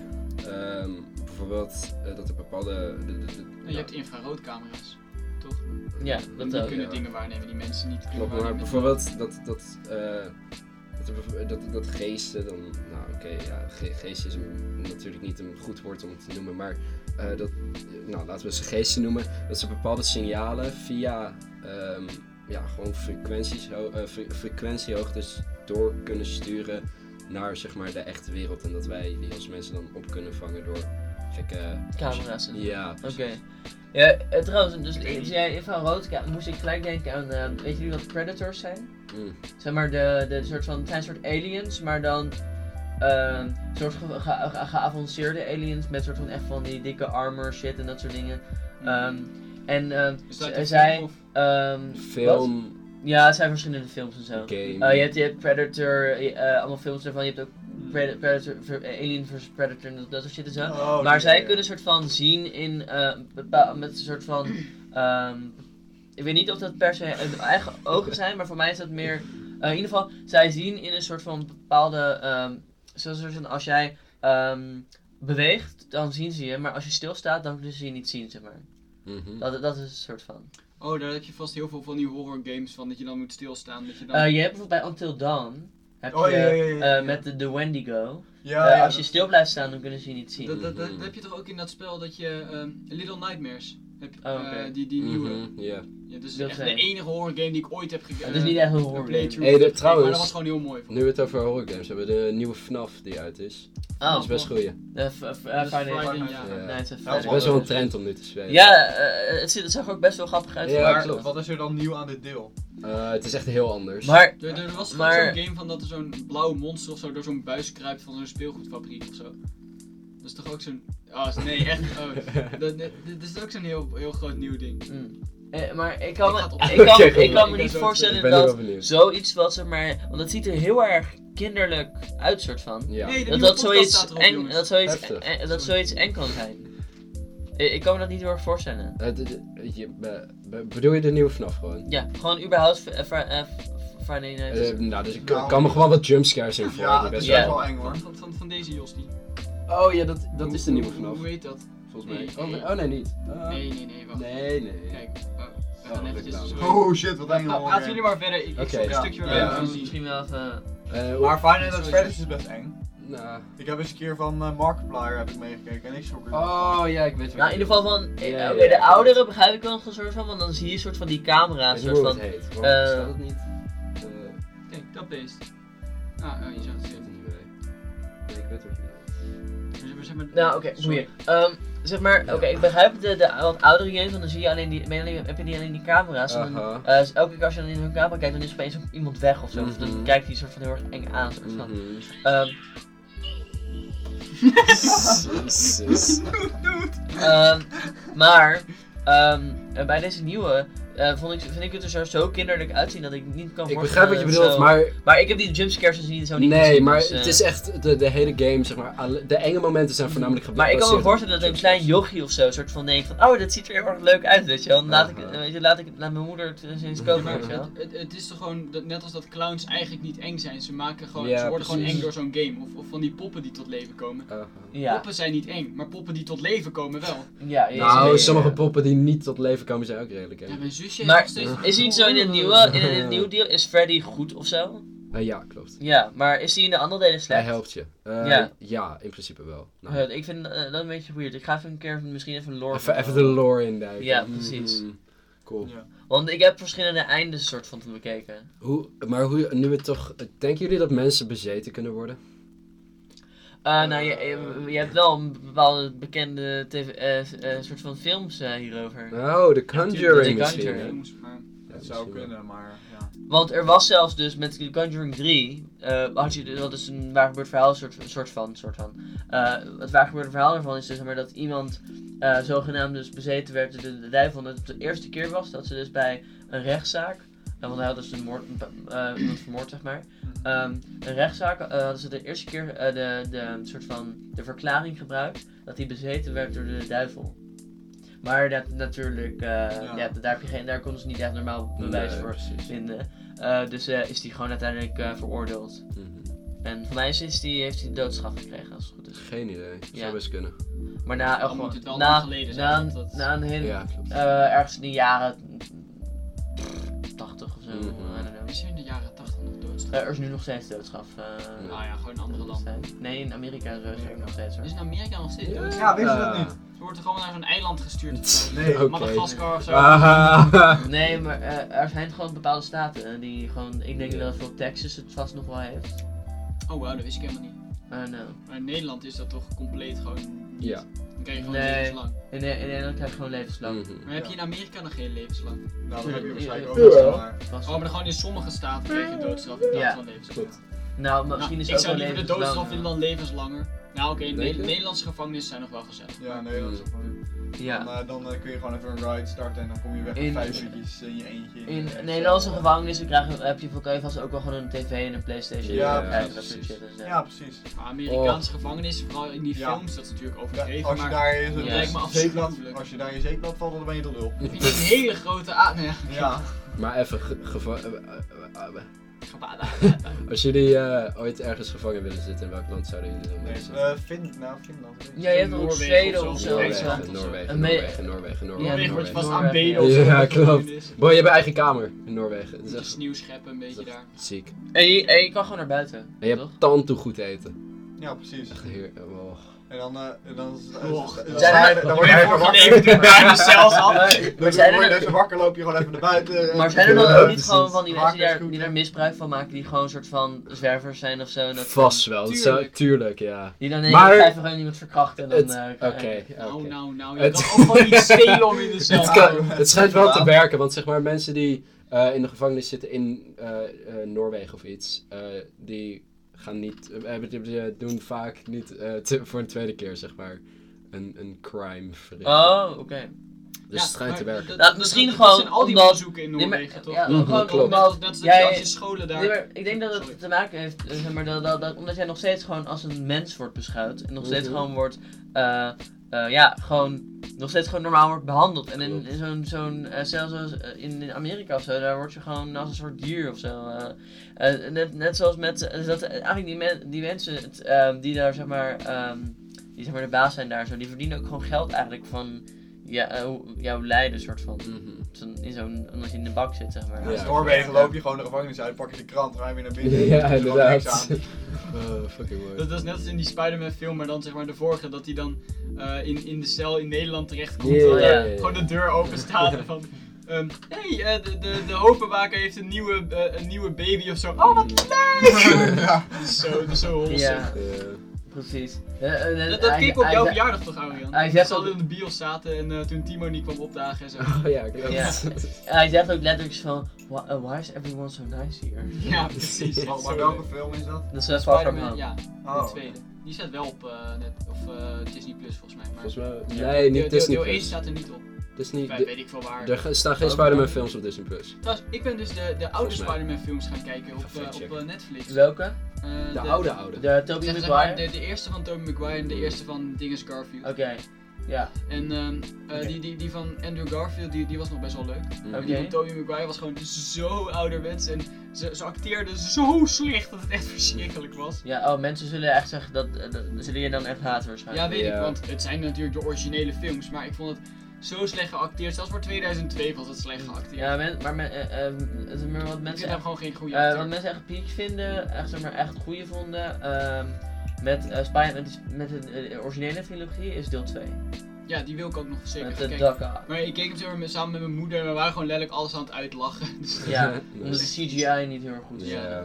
ehm, bijvoorbeeld eh, dat er bepaalde. de- de- de-
En je hebt infraroodcamera's. Toch?
Ja,
En
dat
die
ook.
kunnen
ja.
dingen waarnemen die mensen niet kunnen
Klopt, maar
waarnemen.
bijvoorbeeld dat. dat eh, dat, er bijv- dat, dat geesten dan, nou oké, ja, ge- geest is een- natuurlijk niet een goed woord om het te noemen, maar eh, dat, nou laten we ze geesten noemen, dat ze bepaalde signalen via, ehm, ja, gewoon frequenties, ho- eh, fre- frequentiehoogtes door kunnen sturen naar, zeg maar, de echte wereld en dat wij die als mensen dan op kunnen vangen door gekke...
Camera's en
Ja,
Oké. Ja, eh, trouwens, dus als jij infrarood kijkt, moest ik gelijk denken aan, eh, weet jullie wat predators zijn?
Mm.
Zeg maar, de, de soort van, het zijn soort aliens, maar dan ehm soort ge- ge- ge- geavanceerde aliens met soort van echt van die dikke armor shit en dat soort dingen.
Mm.
Ehm, en ehm,
Mhm. Is
z-
dat een
zij,
film of-
ehm,
film,
wat? Ja, het zijn verschillende films en zo.
game,
Eh, je, hebt, je hebt Predator, eh, eh, allemaal films ervan, je hebt ook
Mm. Mhm.
Pred- Predator, ver- Alien vs Predator en dat, dat soort shit en zo.
Oh,
Maar
die-
zij kunnen een soort van zien in eh, bepaal- met een soort van. ehm, ik weet niet of dat per se hun eigen ogen zijn, maar voor mij is dat meer. eh, in ieder geval, zij zien in een soort van bepaalde. ehm, zoals een soort van als jij ehm, beweegt, dan zien ze je, maar als je stilstaat, dan kunnen ze je niet zien, zeg maar.
Mhm.
Dat, dat is een soort van.
Oh, daar heb je vast heel veel van die horror games van dat je dan moet stilstaan. Dat je dan...
Eh, je hebt bijvoorbeeld bij Until Dawn. Heb
Oh,
je,
ja, ja, ja, ja,
eh,
ja.
Met de, de Wendigo.
Ja,
Eh,
ja,
als je stil blijft staan, dan kunnen ze je niet zien.
dat, dat, dat,
Mhm.
dat heb je toch ook in dat spel dat je ehm, Little Nightmares heb je,
Oh, oké.
eh, die, die nieuwe.
Mhm, ja.
Ja, dat is
Dat
echt
zijn-
de enige horror game die ik ooit heb eh, gegeven.
Het is niet echt een horror. game.
Hey, dat-
Maar
trouwens-
dat was gewoon heel mooi. Vond.
Nu we het over horror games hebben, de nieuwe FNAF die uit is. dat
Oh,
is best
wow.
goeie.
eh, f- f- eh,
Dat is
Friday,
Friday,
Night
ja.
Ja.
Night at
Dat is
Het
Fridays.
is best Eh, wel een trend om nu te spelen.
Ja, eh, het, ziet- het zag er ook best wel grappig uit.
Ja,
maar,
klopt.
Wat is er dan nieuw aan dit deel?
Eh, het is echt heel anders.
maar
Er, er was gewoon
Maar-
zo'n game van dat er zo'n blauw monster of zo door zo'n buis kruipt van zo'n speelgoedfabriek of zo. Dat is toch ook zo'n. Ah, is- nee, echt.
[LAUGHS]
Oh, dat, dat, dat is ook zo'n heel, heel groot nieuw ding.
mm. Eh, maar ik kan
Ik
me,
ga het op-
ik kan,
Oké,
ik
goed.
kan me
Ik ben
niet
zo
ik
voorstellen
ben er wel
dat
benieuwd.
zoiets wat zeg maar. Want het ziet er heel erg kinderlijk uit, soort van.
Ja.
Nee, de
Dat,
nieuwe
dat
podcast
zoiets,
staat erop,
eng,
jongens.
dat, zoiets,
Heftig.
eh, dat zoiets eng kan zijn. Eh, Ik kan me dat niet heel erg voorstellen.
Eh, de- de- je- be- be- bedoel je de nieuwe FNAF gewoon?
Ja, gewoon überhaupt v- eh, fri- eh, f- Friday Night.
Eh, nou, dus ik kan-
Nou.
kan me gewoon wat jumpscares in voor.
Ja,
Ja,
het is
best
Ja.
best
wel.
wel eng hoor.
Van, van, van, van deze Jostie.
Oh ja, dat, dat is de nieuwe
Hoe-
FNAF.
Hoe heet dat?
Volgens mij.
Nee.
Oh, nee, oh, nee, niet. Ah.
Nee, nee, nee, wacht.
nee, nee.
Kijk, oh, we
Oh,
gaan
dat
eventjes.
is
sorry.
Oh shit, wat eng
Nou,
hoor.
Laten jullie maar verder. Ik, ik
Oké.
zoek een
Ja.
stukje waar
Ja,
wij
Ja.
het
dat
van
is
zien.
misschien wel even.
Eh,
Maar
hoe-
Final Fantasy Versus is best eng.
nou.
Ik heb eens een keer van eh, Markiplier heb ik meegekeken en ik schrok er.
Oh ja, ik weet wel.
Nou, in ieder geval van. eh,
Ja,
oké,
ja,
de
ja.
ouderen begrijp ik wel een soort van, want dan zie je een soort van die camera.
Ik
Een
weet
soort
niet hoe
van.
het heet.
eh,
Waarom staat het niet? Eh,
Kijk, dat beest. Ah, oh, je zag
ik weet
het
het
zitten.
niet bij. Nee, ik weet het niet.
Maar- maar zeg maar-
Nou, oké,
Sorry.
boeien. Ehm, zeg maar, oké, ik begrijp de, de wat oudere games, want dan zie je alleen die, ben je alleen- heb je die alleen die camera's. En dan,
Aha.
eh, dus elke keer als je dan in hun camera kijkt, dan is opeens iemand weg of zo. Of dan
Mhm.
kijkt hij soort van heel erg eng aan. Soort van.
Mhm.
Ehm,
Jezus.
ehm, maar, ehm, en bij deze nieuwe eh, vond ik, vind ik het er zo, zo kinderlijk uitzien dat ik niet kan
Ik begrijp
voorstellen
wat je
dat het
bedoelt,
zo-
maar
Maar ik heb die jumpscares dus niet zo niet
Nee,
gezien,
maar
dus, eh,
het is echt de, de hele game, zeg maar. alle- De enge momenten zijn voornamelijk
Maar
gebaseerd
ik kan me
op
voorstellen dat een klein
jumpscares.
jochie of zo een soort van denkt van, oh, dat ziet er heel erg leuk uit, weet je wel. Dan Laat ik,
Aha.
weet je, laat ik, laat mijn moeder het eens eens
Ja,
kopen,
maar
weet je wel.
het, het, het is toch gewoon, dat, net als dat clowns eigenlijk niet eng zijn. Ze, maken gewoon,
Ja,
ze worden gewoon
precies.
eng door zo'n game. Of, of van die poppen die tot leven komen.
Aha.
Ja,
Poppen zijn niet eng, maar poppen die tot leven komen wel.
ja, ja. ja,
nou,
ja, ja.
sommige poppen die niet tot leven komen zijn ook redelijk
Ja,
eng.
mijn zus cliché.
Maar
nog steeds
Is hij zo in het nieuwe, in het
[LAUGHS]
nieuwe deal, is Freddy goed of zo?
Eh, ja, klopt.
Ja, maar is hij in de andere delen slecht?
Hij helpt je. Eh,
Ja.
ja. in principe wel. Nou,
Eh, ik vind eh, dat een beetje weird. Ik ga even een keer misschien even lore.
even, even de lore induiken.
Ja, precies.
Mm, cool.
Ja.
Want ik heb verschillende eindes soort van te bekeken.
Hoe, maar hoe, nu het toch... Denken jullie dat mensen bezeten kunnen worden?
Eh, nou, je, je, je hebt wel een bepaalde bekende tv, eh, eh, soort van films eh, hierover.
Oh, The Conjuring
The
misschien.
Conjuring.
hè?
Maar
Ja,
Dat
misschien
zou
wel.
kunnen, maar ja.
Want er was zelfs dus met The Conjuring 3, eh, had je, dat is een waar gebeurd verhaal, soort, soort van, soort van. Eh, het waar gebeurde verhaal ervan is dus maar dat iemand eh, zogenaamd dus bezeten werd door de, de duivel. En dat het de eerste keer was dat ze dus bij een rechtszaak, eh, want hij had dus een moord, eh, iemand vermoord zeg maar. Ehm, een rechtszaak eh, hadden ze de eerste keer eh, de, de soort van de verklaring gebruikt dat hij bezeten werd door de duivel. Maar dat natuurlijk, eh, ja. daar, heb je geen, daar konden ze niet echt normaal bewijs
Nee,
voor
precies.
vinden. Eh, dus eh, is die gewoon uiteindelijk eh, veroordeeld.
Mhm.
En voor mij is, is die, heeft hij de doodstraf gekregen, als het goed is.
Geen idee.
Ja.
Zou best kunnen.
Maar na,
Dan
eh,
moet
gewoon-
het wel
na,
lang geleden zijn,
na, een-
want dat-
na een heel,
Ja, klopt.
eh, ergens in de jaren pff, 80 of zo,
Mhm.
I don't know.
is er in de jaren 80 nog
Eh,
doodstraf?
er is nu nog steeds doodstraf. eh,
Ja.
Nou ja, gewoon in andere
nog
landen.
steeds. Nee, in Amerika en zo is het ook nog steeds hoor.
Is in Amerika nog steeds doodstraf?
Ja, wist je dat niet?
Ze wordt er gewoon naar zo'n eiland gestuurd.
[LAUGHS] Nee.
Oké.
Madagaskar of zo.
[LAUGHS] Ah,
Nee, maar eh, er zijn gewoon bepaalde staten eh, die gewoon. Ik denk dat veel Texas het vast nog wel heeft.
Oh wow, dat wist ik helemaal niet.
I don't know.
Maar in Nederland is dat toch compleet gewoon. niet?
Ja.
Dan krijg je gewoon
Nee.
levenslang.
In, in Nederland krijg je gewoon levenslang.
Mhm.
Maar heb je in Amerika nog geen levenslang?
Nou, dat heb je waarschijnlijk ook
Ja.
wel. eh, Maar...
Vast.
Oh, maar dan gewoon in sommige staten krijg je doodstraf in plaats
Ja,
van levenslang.
klopt.
Nou, maar
Nou,
misschien is
ik
het ook
zou
wel
liever de
levenslang.
doodstraf
eh.
vinden dan levenslanger. Nou oké,
Denk
Nederlandse
je?
Nederlandse gevangenissen zijn nog wel gezellig.
Ja, nee, dat is wel goed.
Ja.
Dan, eh, dan eh, kun je gewoon even een ride starten en dan kom je weg
In-
met vijf uurtjes in je eentje.
In
eh,
Nederlandse
cel.
gevangenissen krijg je, heb je voor kan je vast ook wel gewoon een tv en een Playstation.
Ja,
en krijgen dat
precies.
soort shit dus, en zo.
Ja, precies.
Maar Amerikaanse gevangenissen, vooral in die
Ja.
films, dat is natuurlijk
Ja,
overdreven.
als, je
maar
daar in zo'n
Ja. Lijkt
me
zeepblad,
afschuwelijk.
als je daar in je zeepblad valt, dan ben je de
[LAUGHS]
lul.
vind ik een hele grote a. nou Nee,
Ja.
Maar even, ge- geva- eh, eh, eh, eh,
gebaarde
als jullie eh, ooit ergens gevangen willen zitten, in welk land zouden jullie dan
Nee,
willen zitten?
eh, Finland, nou, Finland.
Ja, je hebt ook
Noorwegen
Zweden
of
of
zo.
zo.
Noorwegen.
weet je
Noorwegen,
wel.
Zweden.
Noorwegen,
Een me-
Noorwegen, Noorwegen, Noorwegen.
Noorwegen wordt je vast
Noorwegen.
aanbeden of zo.
Ja,
dat je
klopt.
is.
Boy, je hebt een eigen kamer in Noorwegen. Dat is
Beetje
echt
sneeuw scheppen, een beetje
dat is
daar.
echt ziek. En
En je, en je kan gewoon naar buiten.
je
toch?
hebt tand toe goed eten.
Ja, precies.
Echt heer- eh, wow.
En dan, eh, en dan, is- dan,
Och.
dan,
Zijn
sta je-
er-
dan word je even
Voorgeneven
[LAUGHS]
wakker.
door bijna zelfs al.
Maar,
Dan
zijn
word je
er,
even wakker, loop je gewoon even naar buiten. eh,
maar zijn er
Ja,
dan ook niet
precies.
gewoon van die mensen die
Maak
daar,
het goed,
die
hè.
daar misbruik van maken, die gewoon een soort van zwervers zijn of zo? en Dat
Vast wel, dat zou-
Tuurlijk.
tuurlijk, ja.
Die dan in
Maar-
vijf gewoon iemand verkrachten en dan.
Het-
eh,
Oké,
Nou,
oké.
nou, nou. Je
Het-
kan ook gewoon
[LAUGHS]
iets stelen om in de cel
Het,
te
kan,
houden.
het schijnt wel te
Ja.
werken, want zeg maar mensen die eh, in de gevangenis zitten in eh, eh, Noorwegen of iets, eh, die gaan niet, eh, hebben- die- die doen vaak niet eh, te- voor een tweede keer zeg maar een, een crime verrichten.
Oh, oké.
Dus
Ja,
het schijnt te
maar
werken.
dat-
Nou,
dat-
misschien
dat
gewoon
zijn al die
omdat-
onderzoeken in
Nee, maar-
Noorwegen, toch?
ja,
Mhm,
gewoon
klopt.
omdat
Dat is dat
jij-
je als je scholen daar...
Nee, maar ik denk dat
Sorry.
het te maken heeft, eh, zeg maar, dat, dat, dat- omdat jij nog steeds gewoon als een mens wordt beschouwd. En nog steeds
Mhm.
gewoon wordt, eh, eh, ja, gewoon, nog steeds gewoon normaal wordt behandeld. En in,
Klopt.
in zo'n, zo'n eh, cel zoals eh, in, in Amerika of zo, daar word je gewoon als een soort dier of zo. eh. Eh, net, net zoals met, eh, dat eh, eigenlijk die, men- die mensen het, eh, die daar, zeg maar, ehm, die zeg maar de baas zijn daar zo, die verdienen ook gewoon geld eigenlijk van ja, eh, hoe- jouw lijden, soort van.
Mhm.
Zo'n- In zo'n, omdat je in de bak zit, zeg maar.
Ja,
Ja.
in Noorwegen Dus loop je gewoon de gevangenis uit, pak je de krant, ruim je naar binnen.
[LAUGHS] Ja,
Er is gewoon niks
inderdaad.
aan.
Oh, fucking mooi.
Dat was net als in die Spider-Man film, maar dan zeg maar de vorige, dat hij dan eh, in, in de cel in Nederland terechtkomt.
Ja,
komt,
ja, ja,
ja.
Gewoon de deur open staat en van... ehm, hey, eh, de, de, de hoofdbewaker heeft een nieuwe, eh, een nieuwe baby of zo. Oh, wat leuk!
Ja.
[LAUGHS]
Dat is zo, dat is zo wholesome.
Ja,
Eh,
precies. Eh, eh,
Dat, dat
hij-
keek op
hij
jouw
zei-
verjaardag toch, Arjan?
hij
Hij
zegt
zegt al
ook-
in de bios zaten en eh, toen Timo niet kwam
[LAUGHS]
opdagen en zo.
oh ja, klopt.
Ja. Hij zegt ook letterlijk zo van, "Why- eh, why is everyone so nice here?
Ja, precies.
Maar, maar
Zo
welke
leuk.
film is dat?
Dat is wel far from
Spider-Man,
home.
ja, de
Oh.
tweede. Die staat wel op eh, net, of eh, Disney Plus volgens mij. Maar
Volgens mij, nee,
deel,
niet
deel,
Disney
deel 1
Plus.
staat er niet op.
Disney,
Enfin,
de-
weet ik veel waar.
er ge- staan geen
Oh,
Spider-Man films op Disney Plus.
Trouwens, ik ben dus de, de oude
Volgens mij.
Spider-Man films gaan kijken op,
Ga
eh, op
factchecken.
eh, Netflix. Eh,
Welke?
De oude oude.
De Tobey
zeg maar,
Maguire?
De, de eerste van Tobey Maguire en de eerste van Dingus Garfield.
Oké, ja.
En ehm, eh,
Oké.
die, die, die van Andrew Garfield, die, die was nog best wel leuk.
Mhm.
Oké.
En Die van Tobey Maguire was gewoon zo ouderwets en ze, ze acteerde zo slecht dat het echt verschrikkelijk was.
Ja, oh, mensen zullen echt zeggen dat, eh, dat- zullen je dan echt haten
Ja,
waarschijnlijk.
weet ik,
Ja.
want het zijn natuurlijk de originele films, maar ik vond het... zo slecht geacteerd. Zelfs voor 2002 was het slecht geacteerd.
Ja, men, maar men, eh, eh, het is meer wat
mensen
mensen
hebben gewoon geen goede
Eh,
acteur.
wat mensen echt piek vinden, echt, zeg maar, echt goede vonden, ehm, met, eh Spy- met, die- met de eh, originele trilogie is deel 2.
Ja, die wil ik ook nog zeker
Met
gaan
de
kijken.
Dakka.
Maar ik keek hem zo met- samen met mijn moeder en we waren gewoon letterlijk alles aan het uitlachen. [LAUGHS] Dus-
Ja,
[LAUGHS] Nee.
omdat de CGI niet heel erg goed is.
Ja.
Ja.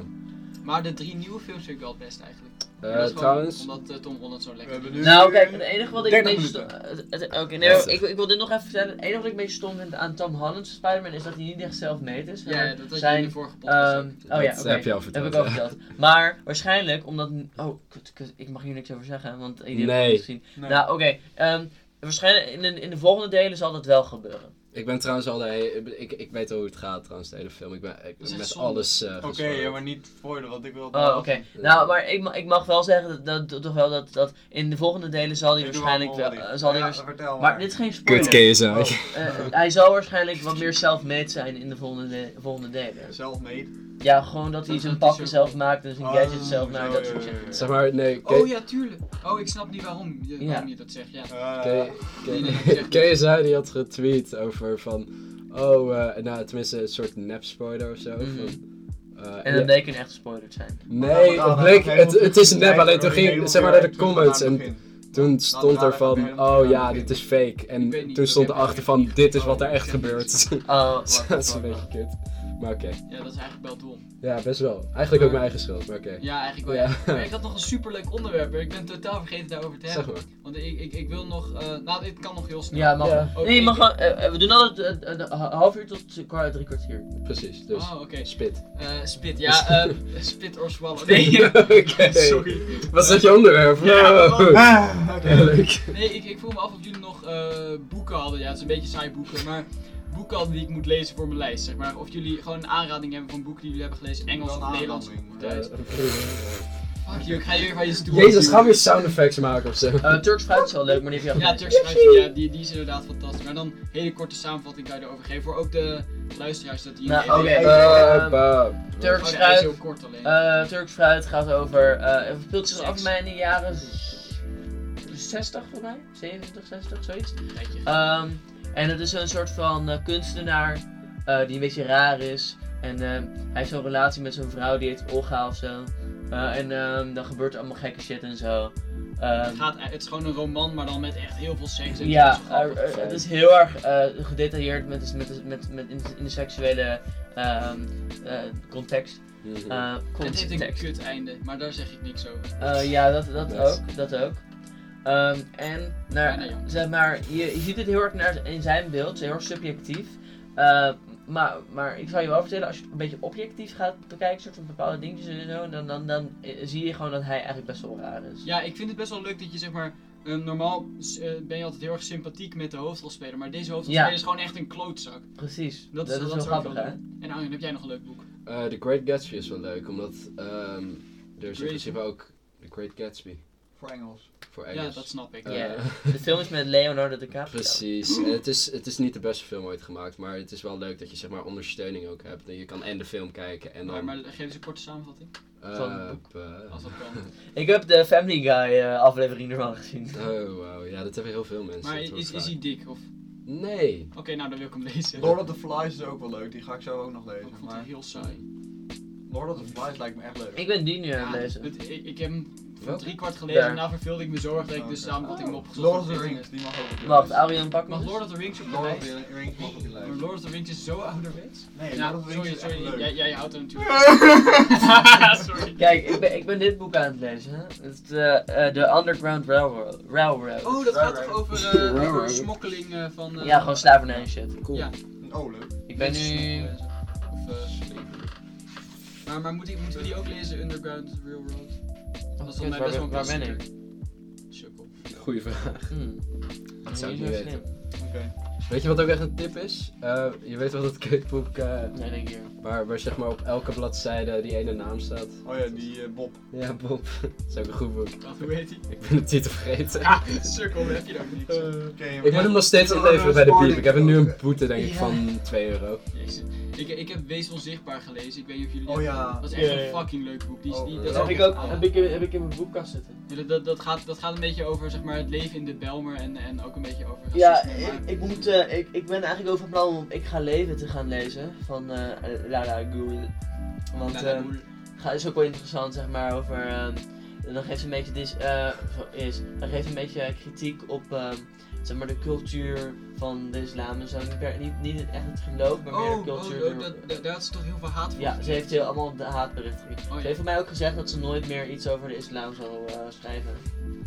Maar de drie nieuwe films vind ik wel het best eigenlijk.
Eh,
En dat is gewoon
trouwens,
Omdat eh, Tom Holland zo
We
lekker
hebben
is.
nu
Nou, kijk, het enige wat ik een
30
beetje stom.
minuten.
het- het- Oké, nee, ik,
Heftig.
ik wil dit nog even vertellen. Het enige wat ik een beetje stom vind aan Tom Holland's Spider-Man is dat hij niet echt zelf meet is.
Ja, dat had je in
zijn,
de vorige podcast
ehm,
ook.
oh ja,
dat
oké.
heb je al
Dat
verteld.
heb ik ook
ja.
verteld. Maar waarschijnlijk omdat. Oh, kut, kut, ik mag hier niks over zeggen, want iedereen heeft
Nee.
het gezien. Nou, oké. ehm, waarschijnlijk in de, in de volgende delen zal dat wel gebeuren.
Ik ben trouwens al de he- ik, ik weet al hoe het gaat trouwens, de hele film. Ik ben ik,
Dat is echt
met
zonde.
alles eh
Oké,
gezwaaid.
ja, maar niet spoilen, want ik wil...
Oh, oké. Nou, maar ik, ma- ik mag wel zeggen dat, dat, toch wel dat, dat in de volgende delen zal hij waarschijnlijk wel. eh, zal hij
ja,
waarsch-
vertel maar.
maar dit is geen
Kut
spoiler.
KSI.
Oh, eh, hij zal waarschijnlijk wat meer zelfmade zijn in de volgende, de- volgende delen.
Self-made.
Ja, gewoon dat hij
Dat
zijn
is natuurlijk
pakken
zo.
zelf maakt en zijn
Oh,
gadgets zelf maakt,
zo,
dat
ja,
soort
ja,
dingen.
ja.
[LAUGHS] Zeg maar, nee, K-
Oh ja, tuurlijk. Oh, ik snap niet waarom, je,
Ja.
waarom je dat zegt. Ja.
Eh,
K-
Nee, nee,
K-
dat zegt
KSI die had getweet over van, oh, eh, nou tenminste een soort nep spoiler of zo.
Mhm.
Van, eh,
En
ja.
dat bleek een echt spoilers zijn.
Nee,
Nou,
het,
nou,
bleek,
nou,
het, het is
nou,
nep,
nou,
alleen toen
nou,
ging,
nou,
zeg maar
nou,
naar de
nou,
comments
nou,
en
nou,
toen stond
nou,
er
nou, nou,
van,
nou, nou,
oh ja,
nou,
dit
nou,
is fake.
Ik
En
weet niet,
toen
dat
stond
heb ik
erachter
niet
van,
gezien.
dit is
Oh,
wat er
ik
echt
zeg niet.
gebeurt.
Oh, wacht,
[LAUGHS] Dat is
wacht,
een beetje
wacht.
kut. Maar oké.
Ja, dat is eigenlijk wel dom.
Ja, best wel. Eigenlijk ook mijn eigen schuld, maar oké.
Ja, eigenlijk wel.
Ja.
ja. Maar ik had nog een superleuk onderwerp, maar ik ben totaal vergeten
[LAUGHS]
daarover te
[LAUGHS] Zeg
hebben.
maar.
Want ik, ik, ik wil nog... eh, nou, dit kan nog heel snel.
Ja, mag.
Ja.
Nee, je mag wel- eh, eh, we doen altijd eh, een half uur tot kwart, drie kwartier.
Precies, dus
Oh, oké. [LAUGHS]
spit.
Eh, spit,
[LAUGHS]
ja. eh, spit or swallow. Nee,
Oké.
[LAUGHS] sorry.
Wat is je onderwerp?
Ja,
Wow.
wat-
Ah,
[LAUGHS]
oké.
Ja, leuk.
Nee, ik, ik vroeg me af of jullie nog eh, boeken hadden. Ja, het is een beetje saai boeken, maar boeken hadden die ik moet lezen voor mijn lijst, zeg maar. Of jullie gewoon een aanrading hebben van boeken die jullie hebben gelezen, Engels
Wel
of
een
Nederlands.
aanrading, maar-
Duits. Fuck you, ik ga je weer van je stoel.
Jezus, gaan we
duwen.
weer sound effects maken of zo?
Eh, Turks fruit is wel leuk, maar die heb je al
Ja,
gelezen.
Turks Fruit, ja, die, die is inderdaad fantastisch. Maar dan een hele korte samenvatting kan je erover geven voor ook de luisteraars dat die...
Nou,
Oh,
oké.
ja,
[LAUGHS] Eh, bah.
Turks
die is
fruit.
heel kort alleen.
Eh, Turks fruit gaat over. eh speelt zich af
Seks.
mij in de jaren z- 60 voor mij? 70, 60, zoiets.
Tijdje.
Ehm, en het is een soort van eh, kunstenaar eh, die een beetje raar is. En ehm, hij heeft zo'n relatie met zo'n vrouw die heet Olga of zo. Eh, en ehm, dan gebeurt er allemaal gekke shit en zo. Ehm,
het, gaat, het is gewoon een roman, maar dan met echt heel veel seks en
ja,
zo, dat is grappig.
eh, eh, het is heel erg eh, gedetailleerd met, met, met, met in, in de seksuele ehm, eh, context.
Mhm.
Eh,
Het heeft een
context.
kut einde, maar daar zeg ik niks over.
Eh, ja, dat, dat
Nice.
ook. Dat ook. Ehm, en
Bijna
naar,
jammer.
zeg maar, je, je ziet het heel erg naar, in zijn beeld, heel erg subjectief. Eh, maar, maar ik zou je wel vertellen, als je het een beetje objectief gaat bekijken, soort van bepaalde dingetjes en zo, dan, dan, dan eh, zie je gewoon dat hij eigenlijk best wel raar is.
Ja, ik vind het best wel leuk dat je zeg maar. eh, normaal s- eh, ben je altijd heel erg sympathiek met de hoofdrolspeler, maar deze hoofdrolspeler
Ja.
is gewoon echt een klootzak.
Precies. Dat,
Dat is-
is
dat
wel
is ook
grappig,
wel
hè?
En Arjen, heb jij nog een leuk boek?
Eh, The Great Gatsby is wel leuk, omdat ehm, er is in
Great.
principe ook The Great Gatsby
Voor Engels.
voor Engels.
Ja, dat snap ik.
Eh,
Ja. De film is met Leonardo DiCaprio.
[LAUGHS] Precies. En Het is, het is niet de beste film ooit gemaakt, maar het is wel leuk dat je zeg maar ondersteuning ook hebt. En je kan en de film kijken en
Maar,
dan...
maar geef eens een korte samenvatting,
eh,
Van het boek.
eh,
als dat kan.
Ik heb de Family Guy eh, aflevering ervan gezien.
oh wow, ja dat hebben heel veel mensen.
Maar
dat hoor ik
is, is
vaak.
hij dik? Of... Oké,
Nee.
nou dan wil ik hem lezen.
Lord of the Flies is ook wel leuk, die ga ik zo ook nog
Ik
lezen.
vond het
Maar
heel saai.
Lord of the Flies lijkt me echt leuk.
Ik ben die nu aan
Ja,
het lezen.
het- ik, ik heb hem voor
Welke?
drie kwart gelezen
Daar.
en daarna verveelde ik me zo erg dat ik
Oh,
dus
oké.
samenvatting heb opgezocht.
Lord of
op
the
internet.
Rings, die mag ook op je
Wacht,
lijst.
Arian, pak
Mag
maar.
Lord of the Rings op de
Lord of
lijst?
the Rings mag op je
Maar
lijst.
Lord of the Rings is zo ouderwets.
Nee,
Ja,
Lord of the Rings
sorry,
is echt
sorry. Jij,
leuk.
jij houdt er natuurlijk van. [LAUGHS] sorry.
Kijk, ik ben, ik ben dit boek aan het lezen. hè. Het is de, eh, de Underground Railroad. Railroad.
Oh, dat gaat toch over, eh,
Railroad.
over smokkeling eh, van. eh,
Ja, gewoon slavernij en shit.
Cool.
Ja.
Oh, leuk.
Ik ben nu...
Of, eh, slavery. maar maar moet ik, moeten we die ook lezen, Underground Railroad? Dat is
kut,
dan mij
waar
best wel een
ben- waar ben ik?
klassieker. Sukkel.
Goeie vraag.
Hmm.
Dat zou ik
Nee,
niet
zo
weten.
slim.
Oké.
Weet je wat ook echt een tip is? Eh, je weet wel dat kutboek eh
Nee, denk ik.
waar, waar zeg maar op elke bladzijde die ene naam staat.
Oh ja, die eh, Bob.
Ja, Bob. Dat [LAUGHS] is ook een goed boek.
Wacht, hoe heet die? [LAUGHS]
Ik ben de titel vergeten.
Ja, sukkel, heb je daar niks.
Eh. Oké,
Ik moet hem nog steeds inleveren bij de piep. Ik heb er nu een boete denk ik
Ja.
van 2 euro.
Jezus. Ik, ik heb Wees Onzichtbaar gelezen, ik weet niet of jullie
Oh ja.
Dat is echt
Ja, ja.
een fucking leuk boek. Die, is-
Oh,
die,
eh,
dat is
heb
echt- ja.
ik, heb ik in mijn boekkast zitten.
Ja, dat, dat, dat gaat, dat gaat een beetje over zeg maar, het leven in de Belmer en, en ook een beetje over
Ja,
racisme, maar-
ik, ik moet moet, eh, ik, ik ben eigenlijk over plan om Ik Ga Leven te gaan lezen van eh Lara Gould. Want
Nou,
eh,
nou, hoe-
ga- is ook wel interessant, zeg maar, over... ehm, dan geeft ze een beetje, dis, eh, zo- is, dan geeft ze een beetje eh, kritiek op ehm, zeg maar, de cultuur van de islam en zo. Niet, per- niet, niet echt het geloof, maar meer de
Oh, oh,
cultuur.
oh,
door-
dat- dat- daar had ze toch heel veel haat voor?
ja, ze heeft heel allemaal de haatberichten. gekregen.
Oh,
Ze
ja.
heeft van mij ook gezegd dat ze nooit meer iets over de islam zal eh, schrijven.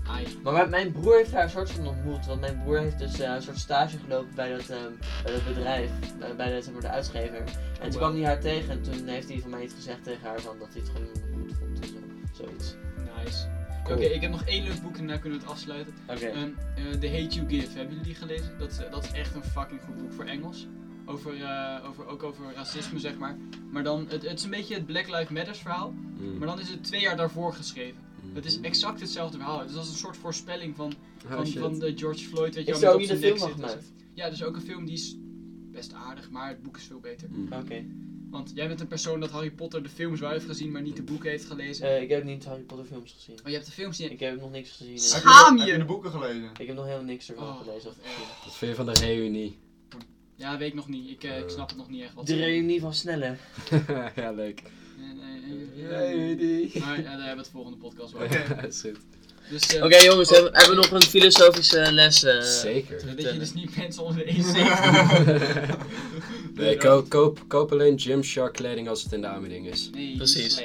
Ai.
Maar mijn- mijn broer heeft haar een soort van ontmoet. Want mijn broer heeft dus eh, een soort stage gelopen bij dat, ehm, bij dat bedrijf. Bij, bij de, zeg maar, de uitgever. En toen
wauw.
kwam hij haar tegen. En toen heeft hij van mij iets gezegd tegen haar. Van dat hij het gewoon goed vond. en zo. Zoiets.
Nice. Oké,
Cool.
ik heb nog één leuk boek en daar kunnen we het afsluiten.
Oké.
Ehm, eh, The Hate You Give, hebben jullie die gelezen? Dat, is- eh, dat is echt een fucking goed boek voor Engels. Over, eh, over, ook over racisme, zeg maar. Maar dan, het, het is een beetje het Black Lives Matters verhaal.
Mm.
Maar dan is het twee jaar daarvoor geschreven.
Mm.
Het
Mhm.
is exact hetzelfde verhaal. Dus dat is een soort voorspelling van,
Oh,
van, van de George Floyd. Weet je,
Is
wel,
er ook
met
niet
op
een
zijn
film
nek
van
zit en zo. Ja, dus ook een film die is best aardig, maar het boek is veel beter.
Mm.
Oké.
Want jij bent een persoon dat Harry Potter de films wel heeft gezien, maar niet de boeken heeft gelezen.
Eh, ik heb niet Harry Potter films gezien.
Maar je hebt de films niet.
Ik heb nog niks gezien.
Heb
eh.
je-
Schaam
Heb
je!
je de boeken gelezen?
Ik heb nog helemaal niks ervan
Oh,
gelezen. Of
wat erg.
gezien.
Wat vind je van de reunie? [LAUGHS]
Ja, weet ik nog niet. Ik, eh, ik snap het nog niet echt. Wat
De reunie van Snelle.
ja, leuk.
Nee, nee, nee, nee, nee.
Reunie.
Maar ja, daar hebben we het volgende podcast wel. over.
Ja, [LAUGHS] is goed.
Dus eh,
Oké jongens, hebben, hebben we nog een filosofische les? eh?
Zeker.
dat je dus niet mensen onder de eens [LAUGHS]
Nee, ko- koop, koop alleen Gymshark kleding als het in de aanbieding is.
Nee, dus, eh,
Precies.
slecht.